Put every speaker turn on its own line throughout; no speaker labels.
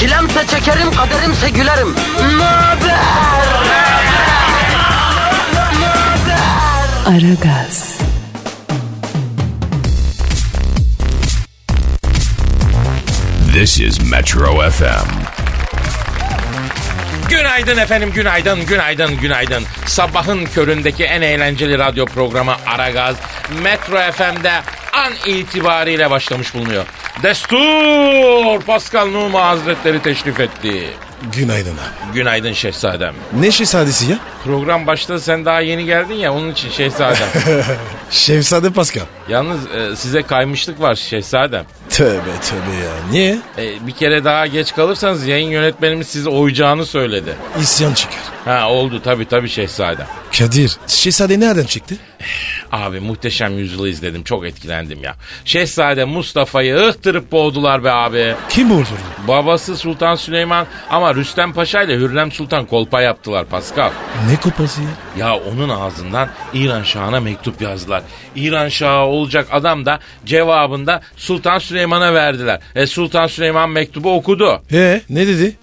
Çilemse çekerim, kaderimse gülerim. Möber!
Aragaz,
This is Metro FM.
Günaydın efendim, günaydın, günaydın, günaydın. Sabahın köründeki en eğlenceli radyo programı Aragaz, Metro FM'de an itibariyle başlamış bulunuyor. Destur Pascal Numa Hazretleri teşrif etti.
Günaydın abi.
Günaydın şehzadem.
Ne şehzadesi ya?
Program başladı sen daha yeni geldin ya onun için şehzadem.
Şehzade Pascal.
Yalnız e, size kaymışlık var şehzadem.
Tövbe tövbe ya. Niye?
E, bir kere daha geç kalırsanız yayın yönetmenimiz sizi oyacağını söyledi.
İsyan çıkar.
Ha oldu tabii tabii şehzadem.
Kadir. Şehzade nereden çıktı?
Abi muhteşem yüzyılı izledim çok etkilendim ya. Şehzade Mustafa'yı ıhtırıp boğdular be abi.
Kim vurdu?
Babası Sultan Süleyman ama Rüstem Paşa ile Hürrem Sultan kolpa yaptılar Pascal.
Ne kupası ya?
Ya onun ağzından İran Şahı'na mektup yazdılar. İran Şahı olacak adam da cevabında Sultan Süleyman'a verdiler. E Sultan Süleyman mektubu okudu.
Ee, ne dedi?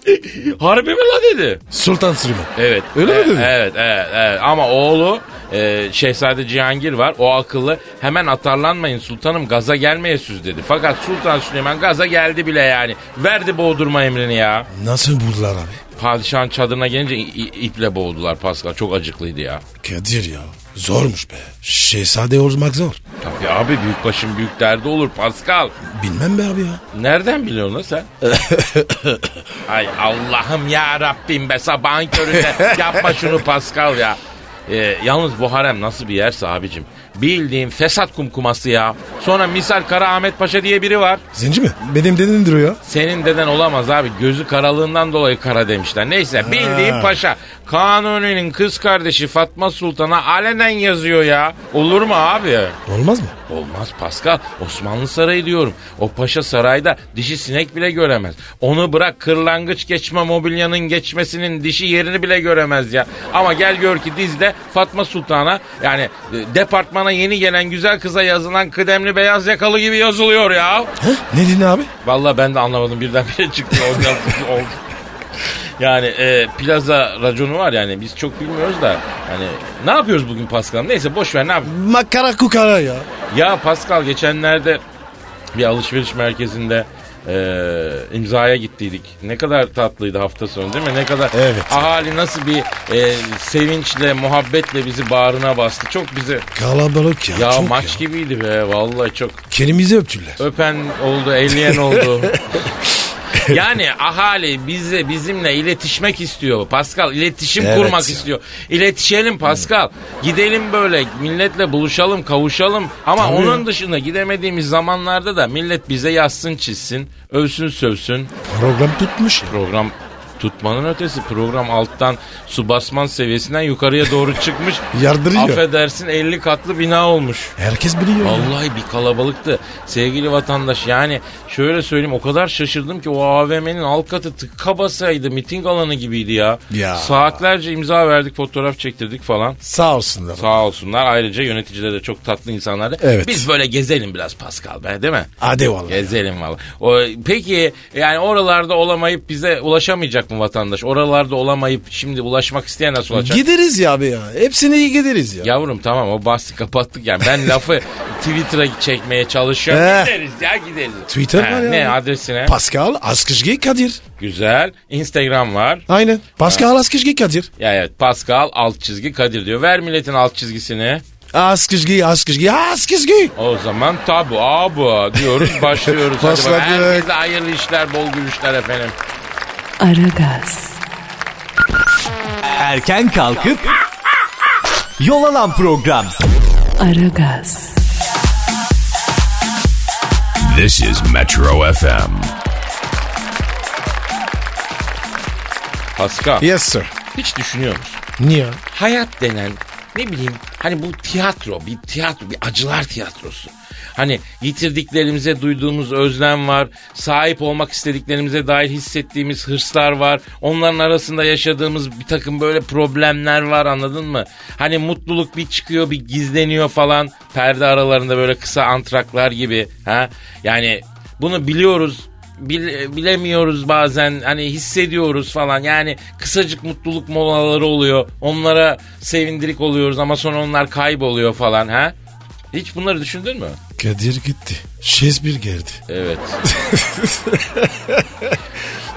Harbi mi la dedi.
Sultan Süleyman.
Evet.
Öyle mi
E,
dedi?
Evet, evet, evet. Ama oğlu e, Şehzade Cihangir var. O akıllı. Hemen atarlanmayın sultanım gaza gelmeyesiniz dedi. Fakat Sultan Süleyman gaza geldi bile yani. Verdi boğdurma emrini ya.
Nasıl vurdular abi?
Padişahın çadırına gelince i- i- iple boğdular Pascal. Çok acıklıydı ya.
Kadir ya. Zormuş be. Şehzade olmak zor.
Tabii abi büyük başın büyük derdi olur Pascal.
Bilmem be abi ya.
Nereden biliyorsun lan sen? Ay Allah'ım ya Rabbim be sabahın köründe yapma şunu Pascal ya. Ee, yalnız bu harem nasıl bir yerse abicim. Bildiğin fesat kumkuması ya. Sonra misal Kara Ahmet Paşa diye biri var.
Zenci mi? Benim dedemdir o ya.
Senin deden olamaz abi. Gözü karalığından dolayı kara demişler. Neyse bildiğin
Ha.
paşa. Kanuni'nin kız kardeşi Fatma Sultan'a alenen yazıyor ya. Olur mu abi?
Olmaz mı?
Olmaz Pascal. Osmanlı Sarayı diyorum. O paşa sarayda dişi sinek bile göremez. Onu bırak kırlangıç geçme mobilyanın geçmesinin dişi yerini bile göremez ya. Ama gel gör ki dizde Fatma Sultan'a yani e, departmana yeni gelen güzel kıza yazılan kıdemli beyaz yakalı gibi yazılıyor ya.
He? Ne dedin abi?
Vallahi ben de anlamadım birdenbire çıktı. o yazı- oldu. Yani e, plaza raconu var yani biz çok bilmiyoruz da hani ne yapıyoruz bugün Pascal? Neyse boş ver ne yap?
Makara kukara ya.
Ya Pascal geçenlerde bir alışveriş merkezinde eee, imzaya gittiydik. Ne kadar tatlıydı hafta sonu değil mi? Ne kadar
Evet.
ahali nasıl bir eee, sevinçle, muhabbetle bizi bağrına bastı. Çok bizi
Kalabalık ya.
ya
çok
maç gibiydi be vallahi çok.
Kelimizi öptüler.
Öpen oldu, eleyen oldu. Yani ahali bize bizimle iletişmek istiyor. Pascal iletişim
Evet
kurmak
ya.
istiyor. İletişelim Pascal. Gidelim böyle milletle buluşalım, kavuşalım. Ama
Tabii
onun
ya.
dışında gidemediğimiz zamanlarda da millet bize yazsın, çizsin, övsün, sövsün.
Program tutmuş ya.
Program tutmanın ötesi program alttan su basman seviyesinden yukarıya doğru çıkmış.
Yardırıyor.
Affedersin 50 katlı bina olmuş.
Herkes biliyor. ya.
Vallahi bir kalabalıktı sevgili vatandaş. Yani şöyle söyleyeyim o kadar şaşırdım ki o AVM'nin alt katı tıka basaydı miting alanı gibiydi ya.
Ya.
Saatlerce imza verdik fotoğraf çektirdik falan.
Sağ olsunlar.
Sağ olsunlar ayrıca yöneticiler de çok tatlı insanlar.
Evet.
Biz böyle gezelim biraz Pascal be değil mi?
Hadi vallahi.
Gezelim valla. O, peki yani oralarda olamayıp bize ulaşamayacak mı vatandaş? Oralarda olamayıp şimdi ulaşmak isteyen nasıl ulaşacak?
Gideriz ya abi ya. Hepsini iyi gideriz ya.
Yavrum tamam o bahsi kapattık yani. Ben lafı Twitter'a çekmeye çalışıyorum.
He.
gideriz ya gideriz.
Eh. Twitter
He,
var ya.
Ne adresine?
Pascal Askışgi Kadir.
Güzel. Instagram var.
Aynen. Pascal Askışgi Kadir.
Ya evet Pascal alt çizgi Kadir diyor. Ver milletin alt çizgisini.
Askışgi, Askışgi, Askışgi.
O zaman tabu abu diyoruz başlıyoruz. Hadi bakalım.
Başladık.
Herkese hayırlı işler bol gülüşler efendim.
Aragaz,
Erken kalkıp yol alan program.
Aragaz,
This is Metro FM.
Pascal
Yes sir.
Hiç düşünüyor musun?
Niye? ya?
Hayat denen ne bileyim hani bu tiyatro bir tiyatro bir acılar tiyatrosu. Hani yitirdiklerimize duyduğumuz özlem var. Sahip olmak istediklerimize dair hissettiğimiz hırslar var. Onların arasında yaşadığımız bir takım böyle problemler var anladın mı? Hani mutluluk bir çıkıyor bir gizleniyor falan. Perde aralarında böyle kısa antraklar gibi. Ha? Yani bunu biliyoruz Bil- bilemiyoruz bazen hani hissediyoruz falan yani kısacık mutluluk molaları oluyor onlara sevindirik oluyoruz ama sonra onlar kayboluyor falan ha hiç bunları düşündün mü?
Kadir gitti. Şezbir geldi.
Evet.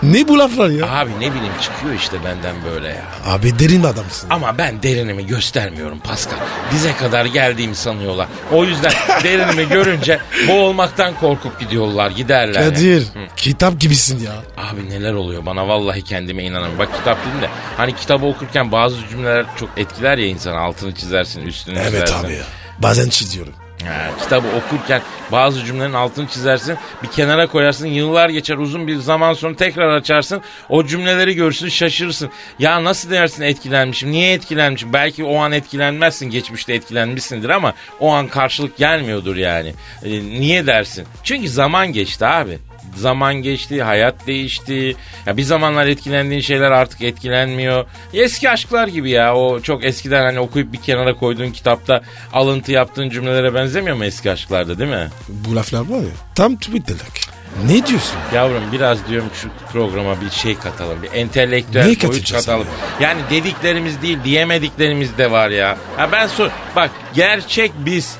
Ne bu laflar ya?
Abi ne bileyim çıkıyor işte benden böyle ya.
Abi derin adamsın.
Ama ben derinimi göstermiyorum Pascal. Bize kadar geldiğimi sanıyorlar. O yüzden derinimi görünce boğulmaktan korkup gidiyorlar giderler.
Kadir kitap gibisin ya.
Abi neler oluyor bana vallahi kendime inanamıyorum. Bak kitap dedim de hani kitabı okurken bazı cümleler çok etkiler ya insanı altını çizersin üstünü
Evet
çizersin.
abi ya. Bazen çiziyorum.
Ha, kitabı okurken bazı cümlelerin altını çizersin bir kenara koyarsın yıllar geçer uzun bir zaman sonra tekrar açarsın o cümleleri görürsün şaşırırsın. Ya nasıl dersin etkilenmişim niye etkilenmişim belki o an etkilenmezsin geçmişte etkilenmişsindir ama o an karşılık gelmiyordur yani. E, niye dersin? Çünkü zaman geçti abi zaman geçti, hayat değişti. Ya bir zamanlar etkilendiğin şeyler artık etkilenmiyor. Eski aşklar gibi ya. O çok eskiden hani okuyup bir kenara koyduğun kitapta alıntı yaptığın cümlelere benzemiyor mu eski aşklarda değil mi?
Bu laflar var ya. Tam Twitter'lık. Ne diyorsun?
Yavrum biraz diyorum şu programa bir şey katalım. Bir entelektüel boyut
Neyi katacağız
katalım. Yani dediklerimiz değil diyemediklerimiz de var ya. Ha ben sor bak gerçek biz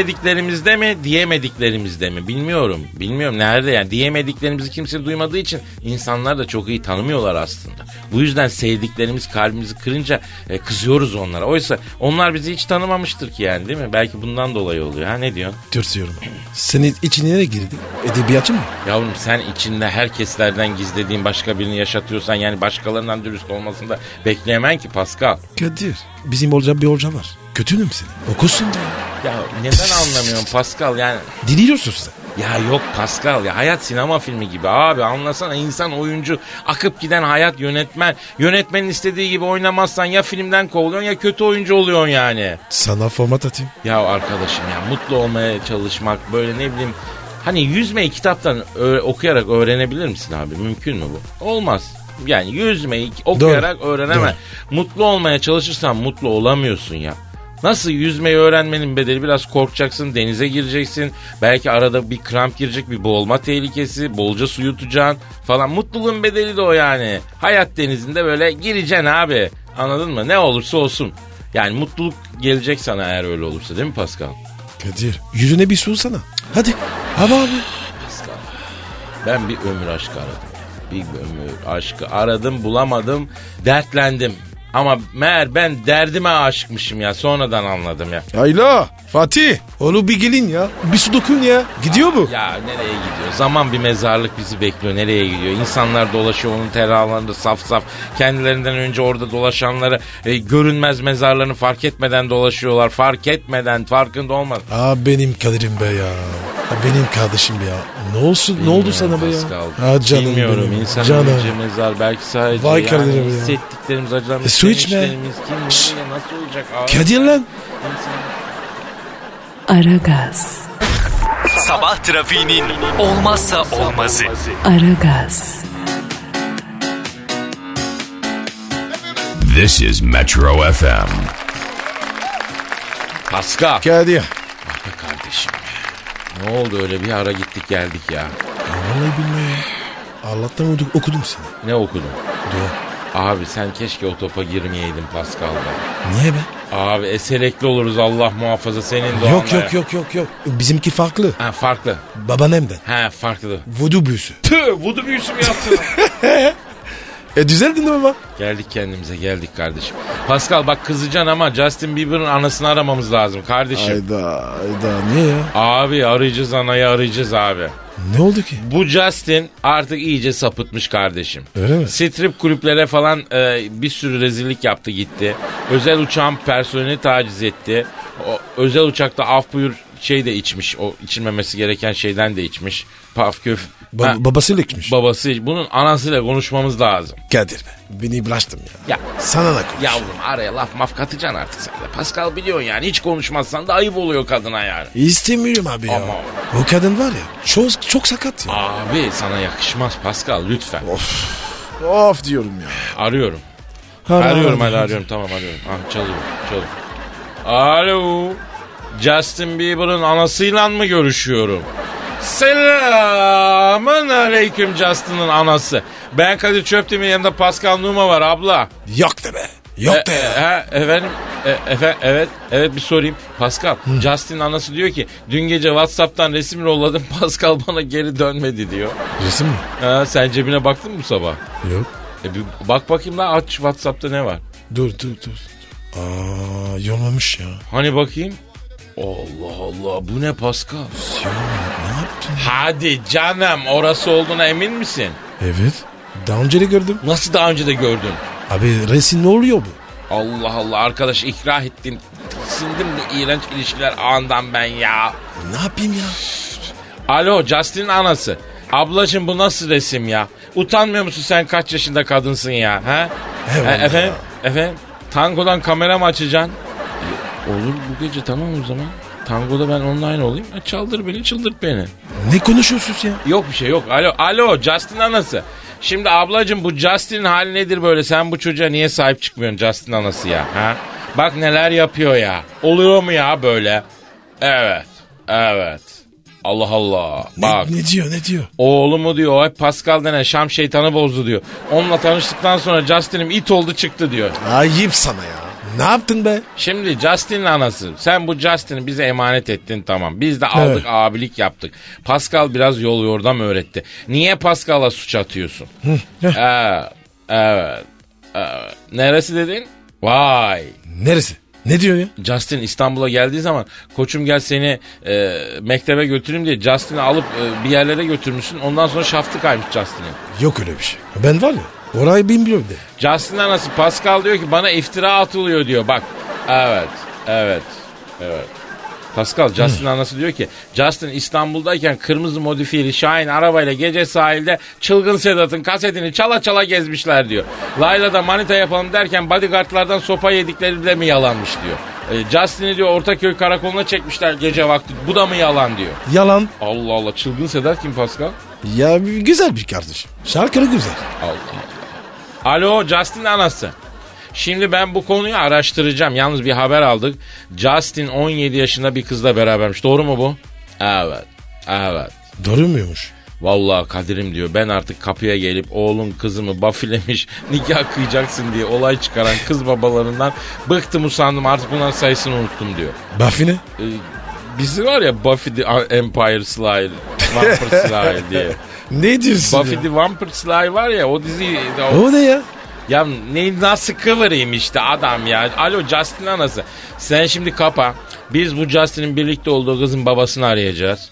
söylediklerimizde mi diyemediklerimizde mi bilmiyorum. Bilmiyorum nerede yani diyemediklerimizi kimse duymadığı için insanlar da çok iyi tanımıyorlar aslında. Bu yüzden sevdiklerimiz kalbimizi kırınca e, kızıyoruz onlara. Oysa onlar bizi hiç tanımamıştır ki yani değil mi? Belki bundan dolayı oluyor. Ha ne diyorsun?
Dürtüyorum. Senin içine ne girdi? Edebiyatçı mı?
Yavrum sen içinde herkeslerden gizlediğin başka birini yaşatıyorsan yani başkalarından dürüst olmasını da bekleyemem ki Pascal.
Kadir. Bizim olacak bir hoca var. Kötünüm seni. Okusun da ya.
Ya neden anlamıyorsun Pascal yani?
Dinliyorsun sen.
Ya yok Pascal ya hayat sinema filmi gibi abi anlasana insan oyuncu akıp giden hayat yönetmen yönetmenin istediği gibi oynamazsan ya filmden kovuluyorsun ya kötü oyuncu oluyorsun yani.
Sana format atayım.
Ya arkadaşım ya mutlu olmaya çalışmak böyle ne bileyim hani yüzmeyi kitaptan ö- okuyarak öğrenebilir misin abi mümkün mü bu? Olmaz. Yani yüzmeyi okuyarak öğrenemez. Mutlu olmaya çalışırsan mutlu olamıyorsun ya. Nasıl yüzmeyi öğrenmenin bedeli biraz korkacaksın denize gireceksin belki arada bir kramp girecek bir boğulma tehlikesi bolca su yutacaksın falan mutluluğun bedeli de o yani hayat denizinde böyle gireceksin abi anladın mı ne olursa olsun yani mutluluk gelecek sana eğer öyle olursa değil mi Pascal?
Kadir. Yüzüne bir su sana. Hadi. Hava abi.
Pascal. Ben bir ömür aşkı aradım. Bir ömür aşkı aradım bulamadım dertlendim. Ama meğer ben derdime aşıkmışım ya sonradan anladım ya.
Hayla. Fatih. Oğlum bir gelin ya. Bir su dokun ya. Gidiyor mu?
Ya nereye gidiyor? Zaman bir mezarlık bizi bekliyor. Nereye gidiyor? İnsanlar dolaşıyor onun teralarında saf saf. Kendilerinden önce orada dolaşanları e, görünmez mezarlarını fark etmeden dolaşıyorlar. Fark etmeden farkında olmadan.
Aa benim Kadir'im be ya. Aa, Benim kardeşim be ya. Ne olsun ne oldu sana be ya?
Pascal.
Aa, canım
Bilmiyorum
benim.
insan
canım.
önce mezar belki sadece
Vay
yani
Kadir'im ya.
hissettiklerimiz acılarımız
E, su içme.
sevinçlerimiz, kim
Şşş.
bilir nasıl olacak abi?
Kadir lan.
Aragaz,
Sabah trafiğinin olmazsa olmazı.
Aragaz,
This is Metro FM.
Pascal.
Kadir.
Ah be kardeşim. Ne oldu öyle bir ara gittik geldik ya.
Vallahi billahi ya. Allah'tan okudum, okudum seni.
Ne okudun?
Dua.
Abi sen keşke o topa girmeyeydin Pascal be.
Niye be?
Abi eselekli oluruz Allah muhafaza senin doğanla.
Yok yok yok yok yok. Bizimki farklı.
Ha farklı.
Babaannemden.
Ha farklı.
Vodu büyüsü.
Tüh vudu büyüsü mü yaptın?
E düzeldin mi baba?
geldik kendimize geldik kardeşim. Pascal bak kızacaksın ama Justin Bieber'ın anasını aramamız lazım kardeşim.
Ayda ayda niye ya?
Abi arayacağız anayı arayacağız abi.
Ne oldu ki?
Bu Justin artık iyice sapıtmış kardeşim.
Öyle mi?
Strip kulüplere falan e, bir sürü rezillik yaptı gitti. Özel uçağın personeli taciz etti. O, özel uçakta af buyur şey de içmiş. O içilmemesi gereken şeyden de içmiş. Paf küf.
Ba-
Ha,
babasıyla gitmiş.
babası. Bunun anasıyla konuşmamız lazım.
Kadir be. Beni bıraktın ya.
Ya
Sana ne konuş?
yavrum araya laf maf katacaksın artık sen de. Pascal biliyorsun yani hiç konuşmazsan da ayıp oluyor kadına yani.
İstemiyorum abi ya.
Ama-
O kadın var ya çok, çok sakat ya.
Abi sana yakışmaz Pascal lütfen.
Of diyorum ya.
Arıyorum.
Ara-
Arıyorum
ara-
hadi arıyorum tamam arıyorum. Ah çalıyor çalıyor. Alo. Justin Bieber'ın anasıyla mı görüşüyorum? Selamın aleyküm Justin'ın anası. Ben Kadir Çöptemir yanında Pascal Numa var abla.
Yok de be. Yok de
E-
ya.
e- e- efendim, e- efe- evet, evet bir sorayım. Pascal, Justin'in anası diyor ki dün gece Whatsapp'tan resim yolladım. Pascal bana geri dönmedi diyor.
Resim mi?
Ha, sen cebine baktın mı bu sabah?
Yok.
E, bir bak bakayım la aç Whatsapp'ta ne var?
Dur dur dur. Aa yollamış ya.
Hani bakayım? Allah Allah bu ne Pascal?
Ya ne yaptın?
Hadi canım orası olduğuna emin misin?
Evet. Daha önce de gördüm.
Nasıl daha önce de gördün?
Abi resim ne oluyor bu?
Allah Allah arkadaş ikrah ettim. Sindim bu iğrenç ilişkiler ağından ben ya.
Ne yapayım ya?
Alo Justin'in anası. Ablacım bu nasıl resim ya? Utanmıyor musun sen kaç yaşında kadınsın ya? Ha?
Eyvallah
E, efendim? Efendim? Tangodan kamera mı açacaksın? E, olur bu gece tamam o zaman. Tangoda ben online olayım. E, çaldır beni çıldırt beni.
Ne konuşuyorsunuz ya?
Yok bir şey yok. Alo, alo Justin anası. Şimdi ablacığım bu Justin'in hali nedir böyle? Sen bu çocuğa niye sahip çıkmıyorsun Justin anası ya? Ha? Bak neler yapıyor ya. Oluyor mu ya böyle? Evet. Evet. Allah Allah.
Ne,
Bak.
ne diyor ne diyor?
Oğlumu diyor o hep Pascal denen Şam şeytanı bozdu diyor. Onunla tanıştıktan sonra Justin'im it oldu çıktı diyor.
Ayıp sana ya. Ne yaptın be?
Şimdi Justin'in anası. Sen bu Justin'i bize emanet ettin tamam. Biz de aldık
Evet.
abilik yaptık. Pascal biraz yol yordam öğretti. Niye Pascal'a suç atıyorsun? evet, evet, evet. Neresi dedin? Vay.
Neresi? Ne diyor ya?
Justin İstanbul'a geldiği zaman koçum gel seni e, mektebe götüreyim diye Justin'i alıp e, bir yerlere götürmüşsün. Ondan sonra şaftı kaymış Justin'in.
Yok öyle bir şey. Ben var ya orayı bilmiyorum de.
Justin anası Pascal diyor ki bana iftira atılıyor diyor bak. Evet, evet, evet. Pascal Justin anası diyor ki Justin İstanbul'dayken kırmızı modifiyeli Şahin arabayla gece sahilde çılgın Sedat'ın kasetini çala çala gezmişler diyor. Layla da manita yapalım derken bodyguardlardan sopa yedikleri de mi yalanmış diyor. E, Justin'i diyor Ortaköy karakoluna çekmişler gece vakti bu da mı yalan diyor.
Yalan.
Allah Allah çılgın Sedat kim Pascal?
Ya güzel bir kardeşim. Şarkıları güzel.
Allah Allah. Alo Justin anası. Şimdi ben bu konuyu araştıracağım. Yalnız bir haber aldık. Justin 17 yaşında bir kızla berabermiş. Doğru mu bu? Evet. Evet.
Doğru muymuş?
Vallahi Kadir'im diyor ben artık kapıya gelip oğlum kızımı bafilemiş nikah kıyacaksın diye olay çıkaran kız babalarından bıktım usandım artık bunların sayısını unuttum diyor.
Buffy ne?
Bizi var ya Buffy the Empire Slayer, Vampire Slayer diye.
Ne diyorsun
Buffy
ya?
the Vampire Slayer var ya o dizi
O ne ya?
Ya ne nasıl kıvırayım işte adam ya. Alo Justin anası. Sen şimdi kapa. Biz bu Justin'in birlikte olduğu kızın babasını arayacağız.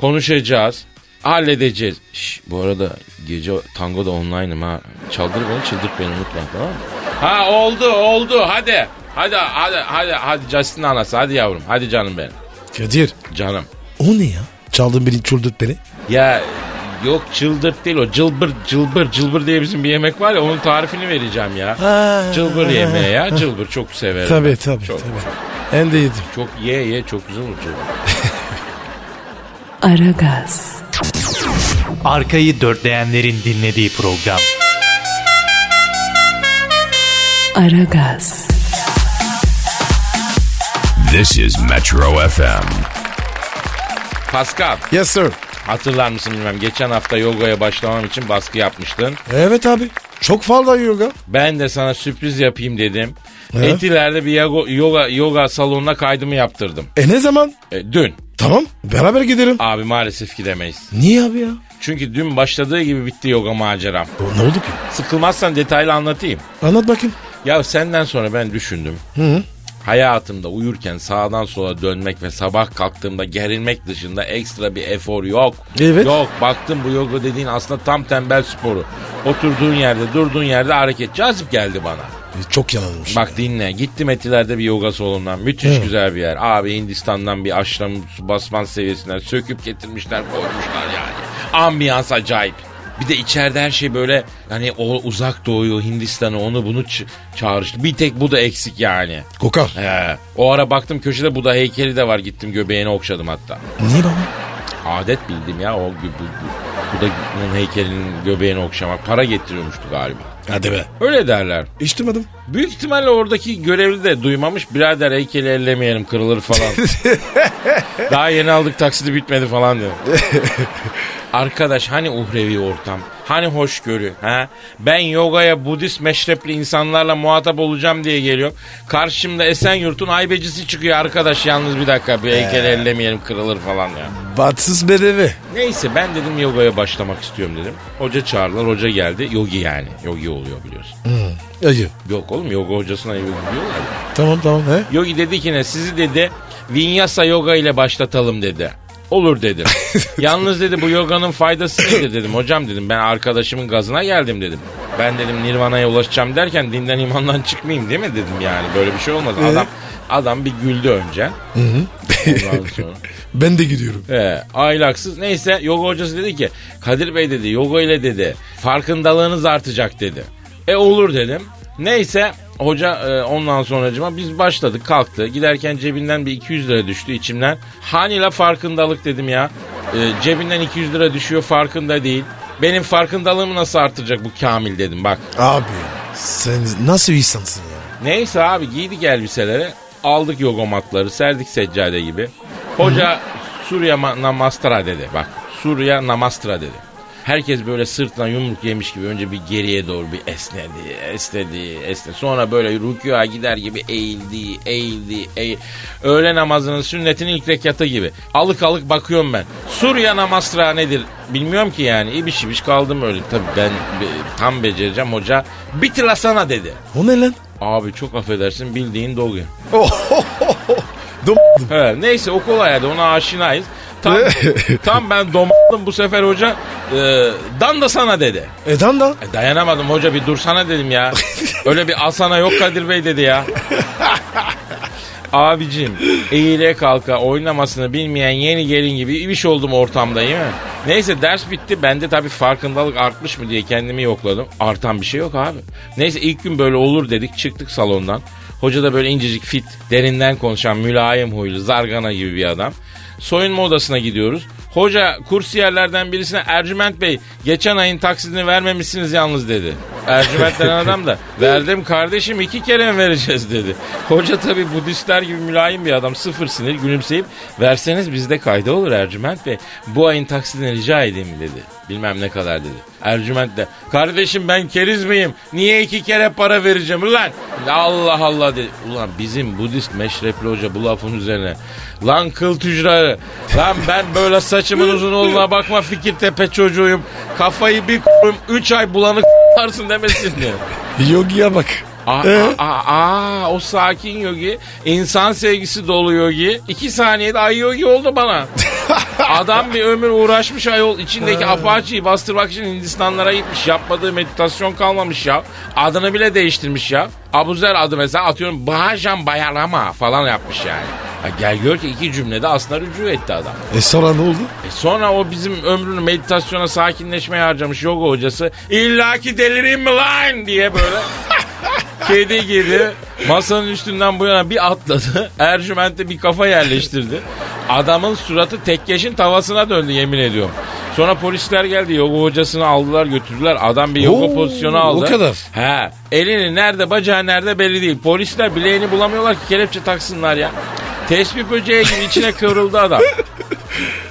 Konuşacağız. Halledeceğiz. Şş, bu arada gece tangoda online'ım ha. Çaldır beni çıldırt beni unutma tamam mı? Ha oldu oldu hadi. Hadi hadi hadi hadi Justin anası hadi yavrum hadi canım benim.
Kadir.
Canım.
O ne ya? Çaldın beni çurdut beni.
Ya yok çıldırt değil o cılbır cılbır cılbır diye bizim bir yemek var ya onun tarifini vereceğim ya.
Ha.
Cılbır yemeği ya. Cılbır çok severim. ben.
Tabii tabii
Çok,
tabii. Ben de yedim.
çok ye ye çok güzel olur cılbır.
Aragaz,
Arkayı dörtleyenlerin dinlediği program.
Aragaz,
This is Metro FM.
Pascal
Yes sir.
hatırlar mısın bilmem geçen hafta yogaya başlamam için baskı yapmıştın.
Evet abi. Çok fazla yoga.
Ben de sana sürpriz yapayım dedim.
He?
Etiler'de bir yago- yoga, yoga salonuna kaydımı yaptırdım.
E ne zaman?
E, dün.
Tamam beraber gidelim.
Abi maalesef gidemeyiz.
Niye abi ya?
Çünkü dün başladığı gibi bitti yoga maceram.
O, ne oldu ki?
Sıkılmazsan detaylı anlatayım.
Anlat bakayım.
Ya senden sonra ben düşündüm. Hayatımda uyurken sağdan sola dönmek ve sabah kalktığımda gerilmek dışında ekstra bir efor yok.
Evet.
Yok baktım bu yoga dediğin aslında tam tembel sporu. Oturduğun yerde durduğun yerde hareket cazip geldi bana.
E, Çok yanılmış.
Bak dinle. Gittim Etiler'de bir yoga salonundan. Müthiş
Hı.
güzel bir yer. Abi Hindistan'dan bir aşram basman seviyesinden söküp getirmişler koymuşlar yani. Ambiyans acayip. Bir de içeride her şey böyle hani o uzak doğuyu Hindistan'ı onu bunu ç- çağrıştı. Bir tek bu da eksik yani.
Kokar.
He. O ara baktım köşede bu da heykeli de var gittim göbeğini okşadım hatta.
Niye baba?
Adet bildim ya o gü- bu, bu, bu da bunun heykelinin göbeğini okşamak para getiriyormuştu galiba.
Hadi be.
Öyle derler.
İçtirmedim.
Büyük ihtimalle oradaki görevli de duymamış. Birader heykeli ellemeyelim kırılır falan. Daha yeni aldık taksidi bitmedi falan diyor. Arkadaş hani uhrevi ortam? Hani hoşgörü? Ha? Ben yogaya Budist meşrepli insanlarla muhatap olacağım diye geliyorum. Karşımda Esenyurt'un aybecisi çıkıyor arkadaş yalnız bir dakika bir heykeli ellemeyelim kırılır falan ya.
Batsız bedeli.
Neyse ben dedim yogaya başlamak istiyorum dedim. Hoca çağırdılar hoca geldi. Yogi yani. Yogi oluyor biliyorsun.
Ayı.
Yok oğlum yoga hocasına yogi diyorlar ya.
Tamam tamam he.
Yogi dedi ki ne sizi dedi Vinyasa yoga ile başlatalım dedi. Olur dedim. Yalnız dedi bu yoganın faydası nedir dedim. Hocam dedim ben arkadaşımın gazına geldim dedim. Ben dedim nirvana'ya ulaşacağım derken dinden imandan çıkmayayım değil mi dedim yani. Böyle bir şey olmaz. Adam adam bir güldü önce. Ondan sonra.
Ben de gidiyorum.
He, aylaksız. Neyse yoga hocası dedi ki Kadir Bey dedi yoga ile dedi farkındalığınız artacak dedi. E olur dedim. Neyse hoca e, ondan sonracıma biz başladık kalktı. Giderken cebinden bir 200 lira düştü içimden. Hani la farkındalık dedim ya. E, cebinden 200 lira düşüyor farkında değil. Benim farkındalığımı nasıl artıracak bu Kamil dedim bak.
Abi sen nasıl bir insansın ya?
Neyse abi giydik elbiseleri. Aldık yogomatları. Serdik seccade gibi. Hoca Surya ma- Namastra dedi. Bak Surya Namastra dedi. Herkes böyle sırtına yumruk yemiş gibi önce bir geriye doğru bir esnedi, esnedi, esnedi. Sonra böyle rükûa gider gibi eğildi, eğildi, eğildi. Öğle namazının sünnetinin ilk rekatı gibi. Alık alık bakıyorum ben. Surya Namastra nedir bilmiyorum ki yani. İbiş ibiş kaldım öyle. Tabii ben be- tam becereceğim hoca. Bitilasana dedi.
O ne lan?
Abi çok affedersin bildiğin dolgu.
Dom
He, neyse o kolay hadi ona aşinayız. Tam, tam ben domadım bu sefer hoca. E, dan da sana dedi.
Edan da.
E, dayanamadım hoca bir dursana dedim ya. Öyle bir asana yok Kadir Bey dedi ya. Abicim eğile kalka oynamasını bilmeyen yeni gelin gibi ibiş oldum ortamda değil mi? Neyse ders bitti. Ben de tabii farkındalık artmış mı diye kendimi yokladım. Artan bir şey yok abi. Neyse ilk gün böyle olur dedik çıktık salondan. Hoca da böyle incecik fit, derinden konuşan, mülayim huylu, zargana gibi bir adam. Soyunma odasına gidiyoruz. Hoca kursiyerlerden birisine Ercüment Bey geçen ayın taksidini vermemişsiniz yalnız dedi. Ercüment denen adam da verdim kardeşim iki kere mi vereceğiz dedi. Hoca tabi Budistler gibi mülayim bir adam sıfır sinir gülümseyip verseniz bizde kayda olur Ercüment Bey. Bu ayın taksidini rica edeyim dedi. Bilmem ne kadar dedi. Ercüment de kardeşim ben keriz miyim? Niye iki kere para vereceğim ulan? Allah Allah dedi. Ulan bizim Budist meşrepli hoca bu lafın üzerine. Lan kıl tücrarı. Lan ben böyle saçımın uzun olduğuna bakma Fikirtepe çocuğuyum. Kafayı bir koyum 3 ay bulanık yaparsın demesin diye.
Yogi'ye bak.
Aa, aa, aa, aa, o sakin yogi, insan sevgisi dolu yogi. iki saniyede ay yogi oldu bana. Adam bir ömür uğraşmış ayol. içindeki apaçıyı bastırmak için Hindistanlara gitmiş. Yapmadığı meditasyon kalmamış ya. Adını bile değiştirmiş ya. Abuzer adı mesela atıyorum Bahajan Bayalama falan yapmış yani. Ha, gel gör ki iki cümlede aslında rücu etti adam.
E sonra ne oldu?
E sonra o bizim ömrünü meditasyona sakinleşmeye harcamış yoga hocası. İlla ki delireyim mi lan diye böyle. Kedi gibi masanın üstünden bu yana bir atladı. Ercüment'e bir kafa yerleştirdi. Adamın suratı tekkeşin tavasına döndü yemin ediyorum. Sonra polisler geldi yoga hocasını aldılar götürdüler. Adam bir yoga
Oo,
pozisyonu aldı.
o kadar.
He. Elini nerede bacağı nerede belli değil. Polisler bileğini bulamıyorlar ki kelepçe taksınlar ya. Tespih böceği gibi içine kıvrıldı adam.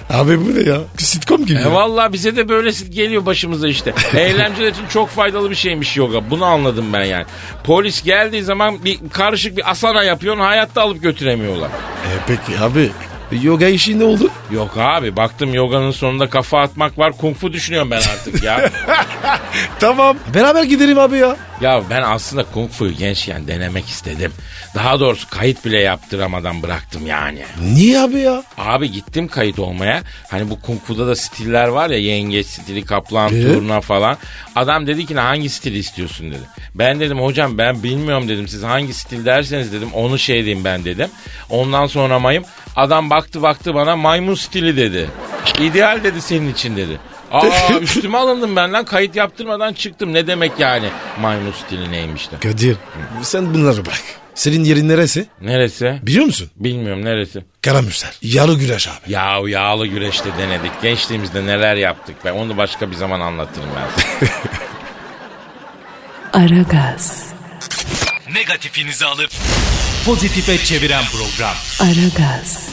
Abi bu ne ya? Sitcom gibi.
E vallahi bize de böylesi geliyor başımıza işte. Eğlenceler için çok faydalı bir şeymiş yoga. Bunu anladım ben yani. Polis geldiği zaman bir karışık bir asana yapıyorsun hayatta alıp götüremiyorlar.
E peki abi. Yoga işi ne oldu?
Yok abi baktım yoganın sonunda kafa atmak var. Kung fu düşünüyorum ben artık ya.
tamam. Beraber gidelim abi ya.
Ya ben aslında kung fu'yu gençken denemek istedim. Daha doğrusu kayıt bile yaptıramadan bıraktım yani.
Niye abi ya?
Abi gittim kayıt olmaya. Hani bu kung fu'da da stiller var ya yengeç stili, kaplan,
Ee?
turna falan. Adam dedi ki "Ne, hangi stili istiyorsun dedi. Ben dedim hocam ben bilmiyorum dedim siz hangi stil derseniz dedim onu şey diyeyim ben dedim. Ondan sonra mayım adam baktı baktı bana maymun stili dedi. İdeal dedi senin için dedi. Aa üstüme alındım benden kayıt yaptırmadan çıktım. Ne demek yani maymun stili neymiş de.
Kadir sen bunları bırak. Senin yerin neresi?
Neresi?
Biliyor musun?
Bilmiyorum neresi.
Karamürsel. Yarı güreş abi.
Yahu yağlı güreşte denedik. Gençliğimizde neler yaptık be. Onu başka bir zaman anlatırım ben. size.
Aragaz,
Negatifinizi alıp pozitife çeviren program.
Aragaz,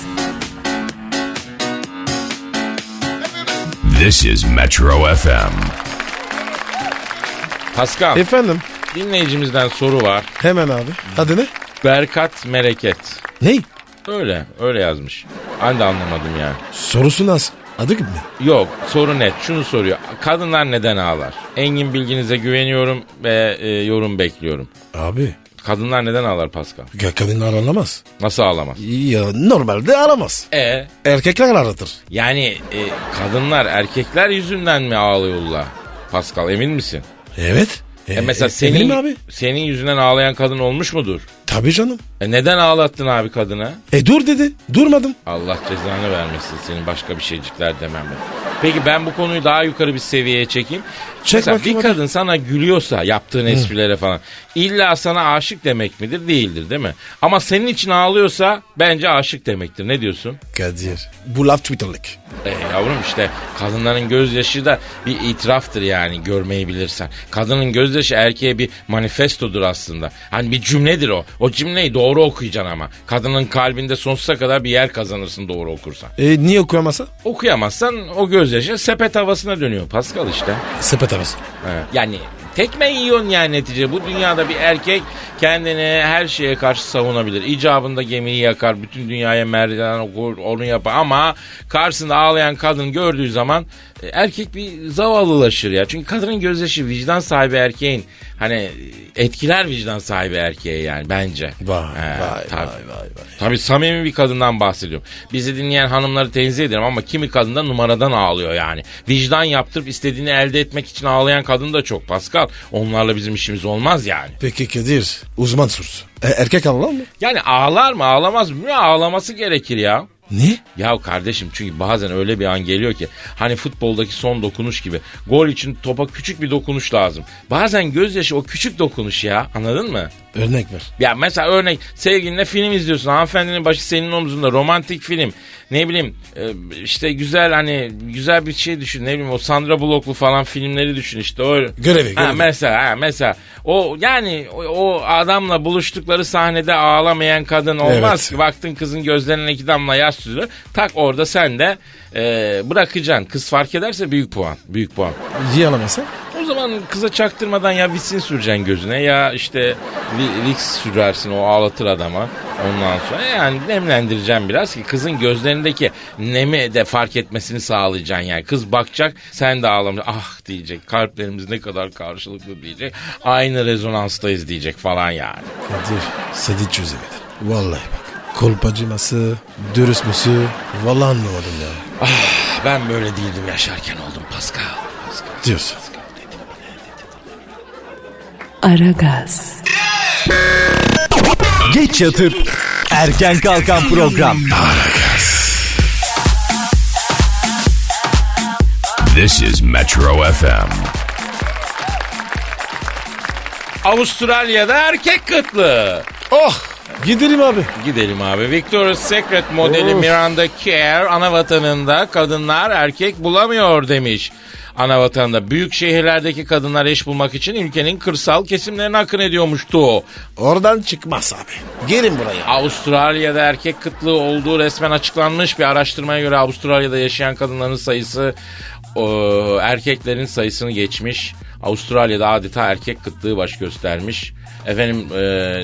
This is Metro FM.
Pascal,
Efendim?
dinleyicimizden soru var.
Hemen abi. Hadi ne?
Berkat Mereket.
Ney?
Öyle, öyle yazmış. Ben de anlamadım yani.
Sorusu nasıl? Adı gibi mi?
Yok, soru net. Şunu soruyor. Kadınlar neden ağlar? Engin bilginize güveniyorum ve e, yorum bekliyorum.
Abi.
Kadınlar neden ağlar Pascal?
Ya kadınlar aramaz.
Nasıl ağlamaz?
Ya normalde aramaz.
E
Erkekler aratır.
yani e, kadınlar erkekler yüzünden mi ağlıyorlar? Pascal emin misin?
Evet. E,
E mesela
e,
senin
eminim abi.
senin yüzünden ağlayan kadın olmuş mudur?
Tabii canım.
E neden ağlattın abi kadına?
E dur dedi. Durmadım.
Allah cezanı vermesin senin başka bir şeycikler demem ben. Peki ben bu konuyu daha yukarı bir seviyeye çekeyim.
Çek
Mesela
bakayım
bir
hadi.
kadın sana gülüyorsa yaptığın esprilere falan illa sana aşık demek midir? Değildir değil mi? Ama senin için ağlıyorsa bence aşık demektir. Ne diyorsun?
Kadir. Bu laf Twitter'lık.
E yavrum işte kadınların gözyaşı da bir itiraftır yani görmeyi bilirsen. Kadının gözyaşı erkeğe bir manifestodur aslında. Hani bir cümledir o. O cümleyi doğru okuyacaksın ama. Kadının kalbinde sonsuza kadar bir yer kazanırsın doğru okursan.
E niye okuyamasa?
Okuyamazsan o gözyaşı sepet havasına dönüyor Pascal işte.
Sepet arası.
Evet. Yani tekme yiyorsun yani netice. Bu dünyada bir erkek kendini her şeye karşı savunabilir. İcabında gemiyi yakar, bütün dünyaya merdiven okur, onu yapar. Ama karşısında ağlayan kadın gördüğü zaman e, erkek bir zavallılaşır ya. Çünkü kadının gözyaşı vicdan sahibi erkeğin hani etkiler vicdan sahibi erkeğe yani bence.
Vay,
He,
vay,
tabii.
vay, vay, vay.
Tabii samimi bir kadından bahsediyorum. Bizi dinleyen hanımları tenzih ederim ama kimi kadın da numaradan ağlıyor yani. Vicdan yaptırıp istediğini elde etmek için ağlayan kadın da çok Pascal. Onlarla bizim işimiz olmaz yani.
Peki Kadir. Uzman sorusu. E, erkek anlar mı?
Yani ağlar mı ağlamaz mı? Ya Ağlaması gerekir ya.
Ne?
Ya kardeşim çünkü bazen öyle bir an geliyor ki hani futboldaki son dokunuş gibi gol için topa küçük bir dokunuş lazım. Bazen gözyaşı o küçük dokunuş ya anladın mı?
Örnek ver.
Ya mesela örnek sevgilinle film izliyorsun. Hanımefendinin başı senin omzunda. Romantik film. Ne bileyim e, işte güzel hani güzel bir şey düşün. Ne bileyim o Sandra Bullock'lu falan filmleri düşün işte. O...
Görevi,
Ha,
görevi.
mesela ha, mesela o yani o, o adamla buluştukları sahnede ağlamayan kadın olmaz
Evet.
ki. Baktın kızın gözlerine iki damla yaş süzülür. Tak orada sen de e, bırakacaksın. Kız fark ederse büyük puan. Büyük puan.
Niye alamasa?
O zaman kıza çaktırmadan ya visin süreceksin gözüne ya işte vi- Vicks sürersin o ağlatır adama. Ondan sonra yani nemlendireceğim biraz ki kızın gözlerindeki nemi de fark etmesini sağlayacaksın yani. Kız bakacak sen de ağlamış ah diyecek kalplerimiz ne kadar karşılıklı diyecek. Aynı rezonanstayız diyecek falan yani.
Kadir. Seni çözemedim. Vallahi bak. Kolpacıması, dürüst müsü. Vallahi anlamadım ya.
Ah, Ben böyle değildim yaşarken oldum Pascal. Pascal.
Diyorsun.
Aragaz,
Geç yatıp erken kalkan program.
This is Metro FM.
Avustralya'da erkek kıtlığı.
Oh! Gidelim abi.
Gidelim abi. Victoria's Secret modeli Miranda Kerr ana vatanında kadınlar erkek bulamıyor demiş. Ana vatanda büyük şehirlerdeki kadınlar eş bulmak için ülkenin kırsal kesimlerine akın ediyormuştu.
Oradan çıkmaz abi. Gelin buraya.
Avustralya'da erkek kıtlığı olduğu resmen açıklanmış bir araştırmaya göre Avustralya'da yaşayan kadınların sayısı e, erkeklerin sayısını geçmiş. Avustralya'da adeta erkek kıtlığı baş göstermiş. Efendim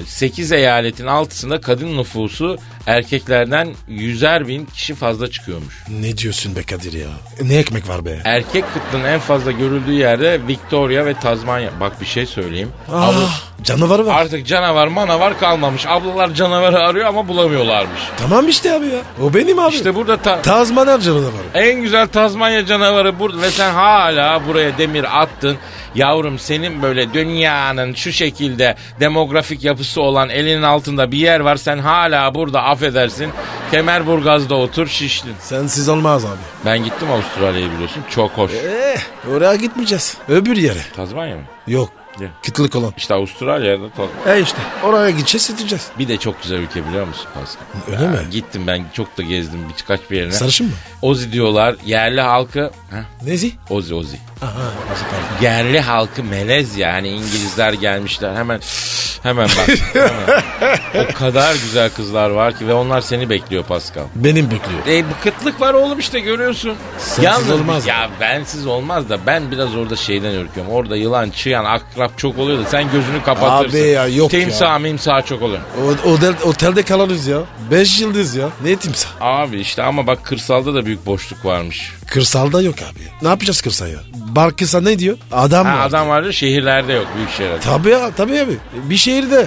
8 eyaletin altısında kadın nüfusu erkeklerden yüzer bin kişi fazla çıkıyormuş.
Ne diyorsun be Kadir ya? Ne ekmek var be?
Erkek kıtlığının en fazla görüldüğü yerde Victoria ve Tazmanya. Bak bir şey söyleyeyim. Avru-
Ah, canavarı var.
Artık canavar manavar kalmamış. Ablalar canavarı arıyor ama bulamıyorlarmış.
tamam işte abi ya. O benim abi.
İşte burada ta-
Tazmanar canavarı.
en güzel Tazmanya canavarı burada ve sen hala buraya demir attın. Yavrum senin böyle dünyanın şu şekilde demografik yapısı olan elinin altında bir yer var. Sen hala burada affedersin. Kemerburgaz'da otur şiştin.
Sensiz olmaz abi.
Ben gittim Avustralya'ya biliyorsun. Çok hoş.
Eh, oraya gitmeyeceğiz. Öbür yere.
Tazmanya mı?
Yok.
Ne?
Kıtlık olan.
İşte Avustralya'da Taz-
E işte. Oraya gideceğiz gideceğiz.
Bir de çok güzel ülke biliyor musun Pascal?
Öyle
Ya,
mi?
Gittim ben çok da gezdim birkaç bir yerine.
Sarışın mı?
Ozi diyorlar yerli halkı. Heh,
Nezi?
Ozi Ozi.
Aha. Nezi pardon.
Yerli halkı melez ya. Hani İngilizler gelmişler hemen hemen bak. hemen. O kadar güzel kızlar var ki ve onlar seni bekliyor Pascal.
Benim bekliyor.
E bu kıtlık var oğlum işte görüyorsun.
Sensiz olmaz.
Ya bensiz olmaz da ben biraz orada şeyden ürküyorum. Orada yılan, çıyan, akrap çok oluyor da sen gözünü kapatırsın.
Abi ya, yok ya.
Timsah, mimsah çok oluyor.
O, otel, otelde kalırız ya. Beş yıldız ya. Ne timsah?
Abi işte ama bak kırsalda da büyük boşluk varmış.
Kırsalda yok abi. Ne yapacağız kırsal ya? Bar kırsal ne diyor? Adam
Ha,
var.
adam vardı şehirlerde yok büyük şehirlerde.
Tabii ya tabii abi. Bir şehirde.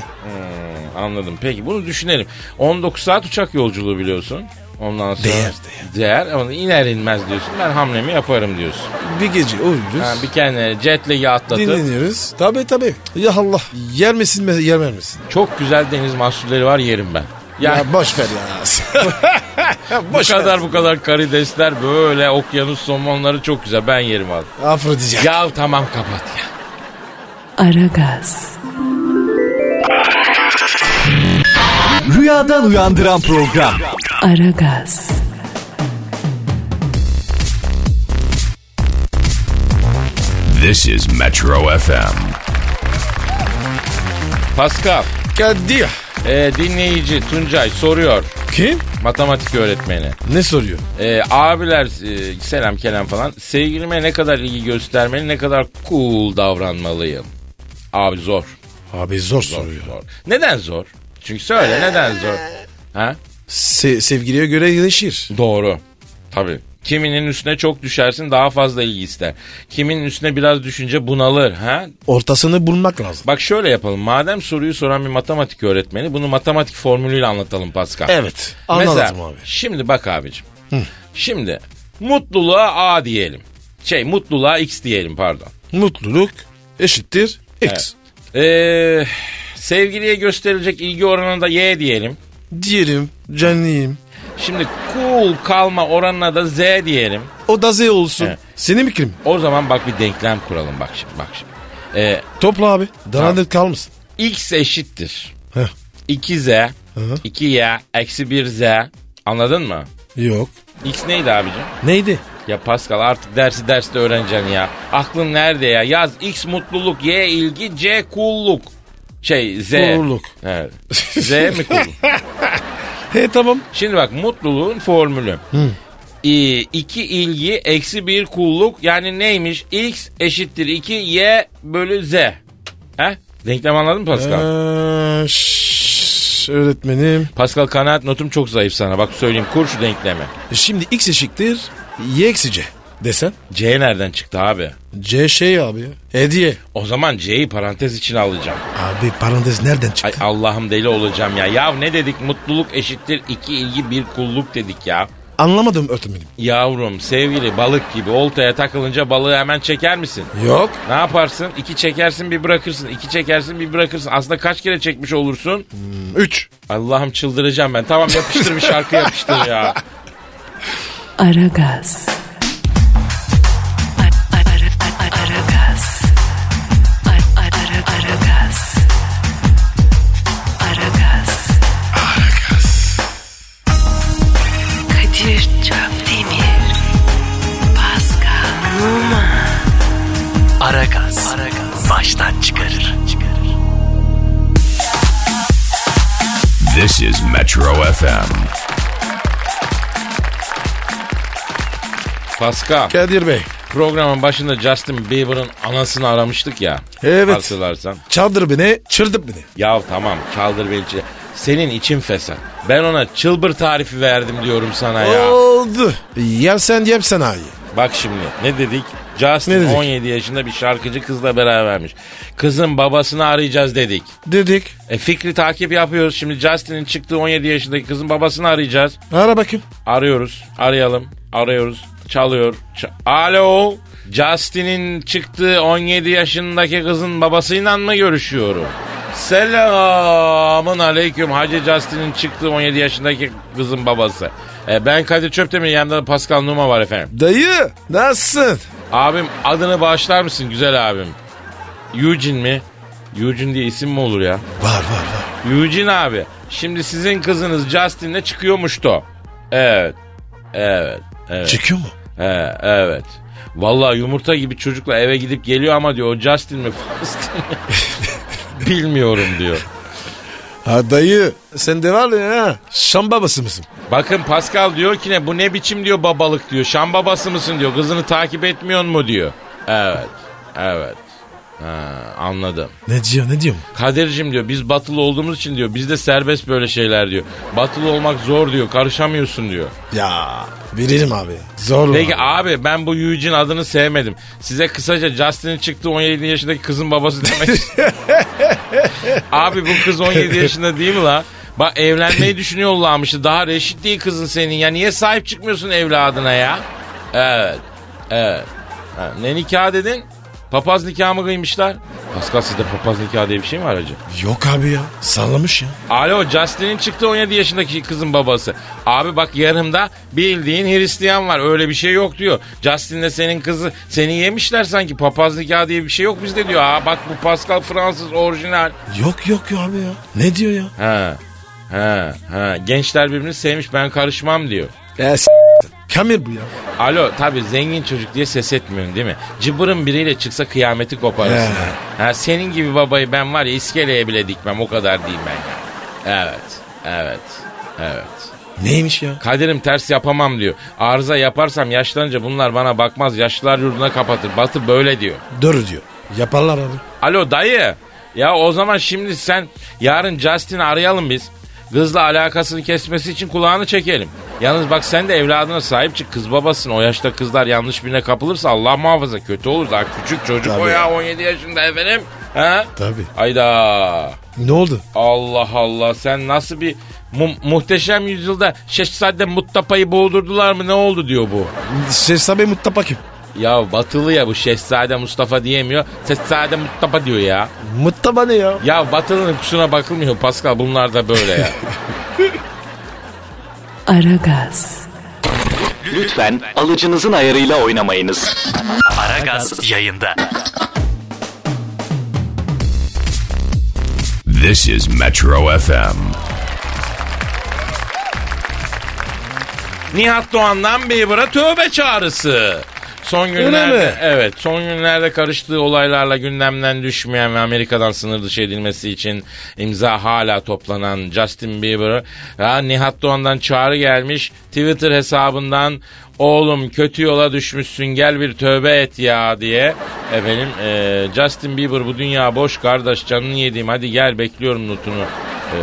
Anladım. Peki bunu düşünelim. 19 saat uçak yolculuğu biliyorsun. Ondan sonra
Değer,
değer. ama iner inmez diyorsun. Ben hamlemi yaparım diyorsun.
Bir gece uyuyoruz.
Ha, bir kendine jet lag'i atlatıp
dinleniyoruz. Tabii tabii. Ya Allah. Yer misin me- yer vermesin.
çok güzel deniz mahsulleri var yerim ben.
Ya,
Ya,
boş ver ya.
bu kadar bu kadar karidesler böyle okyanus somonları çok güzel. Ben yerim abi.
Afrodizyak.
Ya tamam kapat ya.
Aragaz,
Rüyadan uyandıran program.
Aragaz,
This is Metro FM.
Pascal,
Kadir.
e, dinleyici Tuncay soruyor.
Kim?
Matematik öğretmeni.
Ne soruyor?
Ee, abiler e, selam kelam falan. Sevgilime ne kadar ilgi göstermeli, ne kadar cool davranmalıyım? Abi zor.
Abi zor soruyor.
Zor. Neden zor? Çünkü söyle neden zor? Ha?
Se- sevgiliye göre değişir.
Doğru. Tabii. Kiminin üstüne çok düşersin daha fazla ilgi ister. Kiminin üstüne biraz düşünce bunalır. Ha?
Ortasını bulmak lazım.
Bak şöyle yapalım. Madem soruyu soran bir matematik öğretmeni bunu matematik formülüyle anlatalım Pascal.
Evet. Anladım
Mesela,
abi.
Şimdi bak abicim. Şimdi mutluluğa A diyelim. Şey mutluluğa X diyelim pardon.
Mutluluk eşittir X.
Ee, sevgiliye gösterilecek ilgi oranına da Y diyelim.
Diyelim canlıyım.
Şimdi cool kalma oranına da Z diyelim.
O da Z olsun.
Evet.
Senin fikrin.
O zaman bak bir denklem kuralım bak şimdi bak şimdi. Ee,
Topla abi. Danadır kalmasın.
X eşittir.
Heh.
2Z,
hı.
2Y, eksi 1Z. Anladın mı?
Yok.
X neydi abicim?
Neydi?
Ya Pascal artık dersi derste öğreneceksin ya. Aklın nerede ya? Yaz X mutluluk, Y ilgi, C kulluk. Şey Z.
Kulluk.
Evet. Z mi kulluk?
He tamam.
Şimdi bak mutluluğun formülü. Ee, iki ilgi eksi bir kulluk yani neymiş? X eşittir 2 Y bölü Z. He? Denklem anladın mı Pascal?
Ee, şşş, öğretmenim.
Pascal kanaat notum çok zayıf sana. Bak söyleyeyim kur şu denklemi.
Şimdi X eşittir Y eksi C desen.
C nereden çıktı abi?
C şey abi. ya, Hediye.
O zaman C'yi parantez içine alacağım.
Abi parantez nereden
Ay
çıktı?
Allah'ım deli olacağım ya. Ya ne dedik? Mutluluk eşittir iki ilgi bir kulluk dedik ya.
Anlamadım öğretmenim.
Yavrum sevgili balık gibi oltaya takılınca balığı hemen çeker misin?
Yok.
Ne yaparsın? İki çekersin bir bırakırsın. iki çekersin bir bırakırsın. Aslında kaç kere çekmiş olursun?
3.
Allah'ım çıldıracağım ben. Tamam yapıştır bir şarkı yapıştır ya.
Aragaz. Ar- ar- ar- ar- Aragaz. Ar- ar- ar- Aragaz. Aragaz. Kadir Çöptemir. Pascal Numa.
Aragaz. Baştan çıkarır.
This is Metro FM.
Paska
Kadir Bey.
Programın başında Justin Bieber'ın anasını aramıştık ya.
Evet.
Hatırlarsan.
Çaldır beni, çıldır beni.
Ya tamam çaldır beni. çı- Senin için fesat. Ben ona çılbır tarifi verdim diyorum sana ya.
Oldu. Yersen yem sanayi.
Bak şimdi ne dedik? Justin
Ne dedik?
17 yaşında bir şarkıcı kızla berabermiş. Kızın babasını arayacağız dedik.
Dedik.
E fikri takip yapıyoruz. Şimdi Justin'in çıktığı 17 yaşındaki kızın babasını arayacağız.
Ara bakayım.
Arıyoruz. Arayalım. Arıyoruz. Çalıyor. Ç- Alo. Justin'in çıktığı 17 yaşındaki kızın babasıyla mı görüşüyorum? Selamın aleyküm Hacı Justin'in çıktığı 17 yaşındaki kızın babası. E, ben Kadir Çöptemir yanımda da Pascal Numa var efendim.
Dayı, nasılsın?
Abim adını bağışlar mısın güzel abim? Eugene mi? Eugene diye isim mi olur ya?
Var var var.
Eugene abi. Şimdi sizin kızınız Justin'le çıkıyormuştu. Evet. Evet. Evet.
Çıkıyor mu?
He, evet. Vallahi yumurta gibi çocukla eve gidip geliyor ama diyor o Justin mi Faustin mi? Bilmiyorum diyor.
Ha dayı, sen de var ya ha. Şam babası mısın?
Bakın Pascal diyor ki ne bu ne biçim diyor babalık diyor. Şam babası mısın diyor. Kızını takip etmiyor mu diyor. Evet. Evet. Ha, anladım.
Ne diyor, ne diyor?
Kadir'cim diyor biz batılı olduğumuz için diyor bizde serbest böyle şeyler diyor. Batılı olmak zor diyor karışamıyorsun diyor.
Ya, veririm abi. Zorla.
Peki abi ben bu Eugene adını sevmedim. Size kısaca Justin'in çıktığı 17 yaşındaki kızın babası demek istiyorum. Abi bu kız 17 yaşında değil mi la? Bak evlenmeyi düşünüyorlarmıştı. Daha reşit değil kızın senin ya. Niye sahip çıkmıyorsun evladına ya? Evet. Evet. Ha, ne nikah dedin? Papaz nikahı mı kıymışlar? Pascal sizde papaz nikahı diye bir şey mi var hacı?
Yok abi ya, sallamış ya.
Alo Justin'in çıktı 17 yaşındaki kızın babası. Abi bak yarımda bildiğin Hristiyan var öyle bir şey yok diyor. Justin'le senin kızı seni yemişler sanki papaz nikahı diye bir şey yok bizde diyor. Aa bak bu Pascal Fransız orijinal.
Yok yok ya abi ya. Ne diyor ya?
He he he gençler birbirini sevmiş ben karışmam diyor.
Ya s- Kamil bu ya.
Alo tabi zengin çocuk diye ses etmiyorsun değil mi? Cıbırın biriyle çıksa kıyameti koparırsın. Ha, senin gibi babayı ben var ya iskeleye bile dikmem o kadar değil ben ya. Evet evet evet.
Neymiş ya?
Kadir'im ters yapamam diyor. Arıza yaparsam yaşlanınca bunlar bana bakmaz. Yaşlılar yurduna kapatır. Batı böyle diyor.
Dur diyor. Yaparlar abi.
Alo dayı. Ya o zaman şimdi sen yarın Justin'i arayalım biz. Kızla alakasını kesmesi için kulağını çekelim. Yalnız bak sen de evladına sahip çık. Kız babasın. O yaşta kızlar yanlış birine kapılırsa Allah muhafaza kötü olur. Daha küçük çocuk o
Tabii.
ya 17 yaşında efendim. Ha?
Tabii.
Ayda.
Ne oldu?
Allah Allah sen nasıl bir mu- muhteşem yüzyılda Şehzade Muttapa'yı boğdurdular mı ne oldu diyor bu.
Şehzabe Mustafa kim?
Ya batılı ya bu Şehzade Mustafa diyemiyor. Şehzade Mustafa diyor ya.
Mustafa ne ya?
Ya batılının kusuna bakılmıyor Pascal bunlar da böyle ya.
Aragaz,
Lütfen alıcınızın ayarıyla oynamayınız.
Aragaz yayında.
This is Metro FM.
Nihat Doğan'dan Bieber'a tövbe çağrısı. Son
Öyle mi?
günlerde evet son günlerde karıştığı olaylarla gündemden düşmeyen ve Amerika'dan sınır dışı edilmesi için imza hala toplanan Justin Bieber'a ha, Nihat Doğan'dan çağrı gelmiş. Twitter hesabından oğlum kötü yola düşmüşsün gel bir tövbe et ya diye efendim e, Justin Bieber bu dünya boş kardeş canını yediğim hadi gel bekliyorum notunu. E,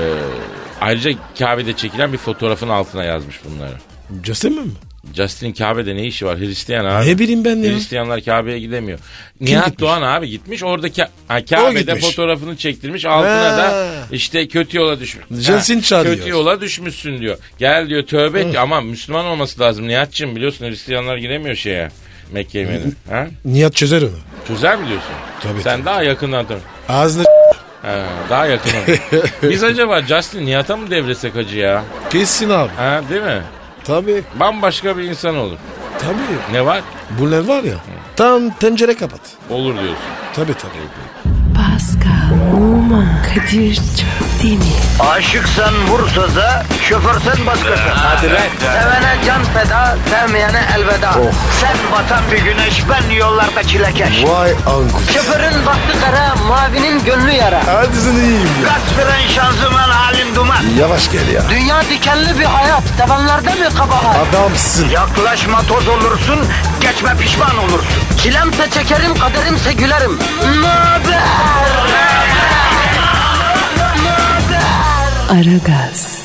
ayrıca Kabe'de çekilen bir fotoğrafın altına yazmış bunları.
Göstermem mi?
Justin Kabe'de ne işi var? Hristiyan abi.
Ne bileyim ben ya.
Hristiyanlar Kabe'ye gidemiyor. Nihat
gitmiş?
Doğan abi gitmiş oradaki ha,
O
Kabe'de
gitmiş.
fotoğrafını çektirmiş. Altına
Ha.
da işte kötü yola düşmüş.
Justin
Ha,
çağırıyor.
Kötü yola düşmüşsün diyor. Gel diyor tövbe et diyor. ama Müslüman olması lazım. Nihat'cığım biliyorsun Hristiyanlar giremiyor şeye. Mekke'ye Medine'ye. ha?
Nihat çözer onu.
Çözer mi diyorsun?
Tabii,
Sen
tabii.
daha yakından tanı.
Ağzına
Ha, daha yakından. Biz acaba Justin Nihat'a mı devresek acı ya?
kesin abi.
Ha, değil mi?
Tabii.
Bambaşka bir insan olur.
Tabii.
Ne var?
Bunlar var ya. Tam tencere kapat.
Olur diyorsun.
Tabii tabii.
Pascal, Oman, Kadir çok değil mi?
Aşıksan vursa da, şoförsen başkasın. Hadi
lan.
Sevene can feda, sevmeyene elveda.
Oh.
Sen batan bir güneş, ben yollarda çilekeş.
Vay anku.
Şoförün baktı kara, mavinin gönlü yara.
Hadi sen iyiyim ya.
Kasperen şanzıman halin duman.
Yavaş gel ya.
Dünya dikenli bir hayat. Sevenlerde mi kabahar?
Adamsın.
Yaklaşma toz olursun, geçme pişman olursun. Çilemse çekerim, kaderimse gülerim. Möber!
Aragaz.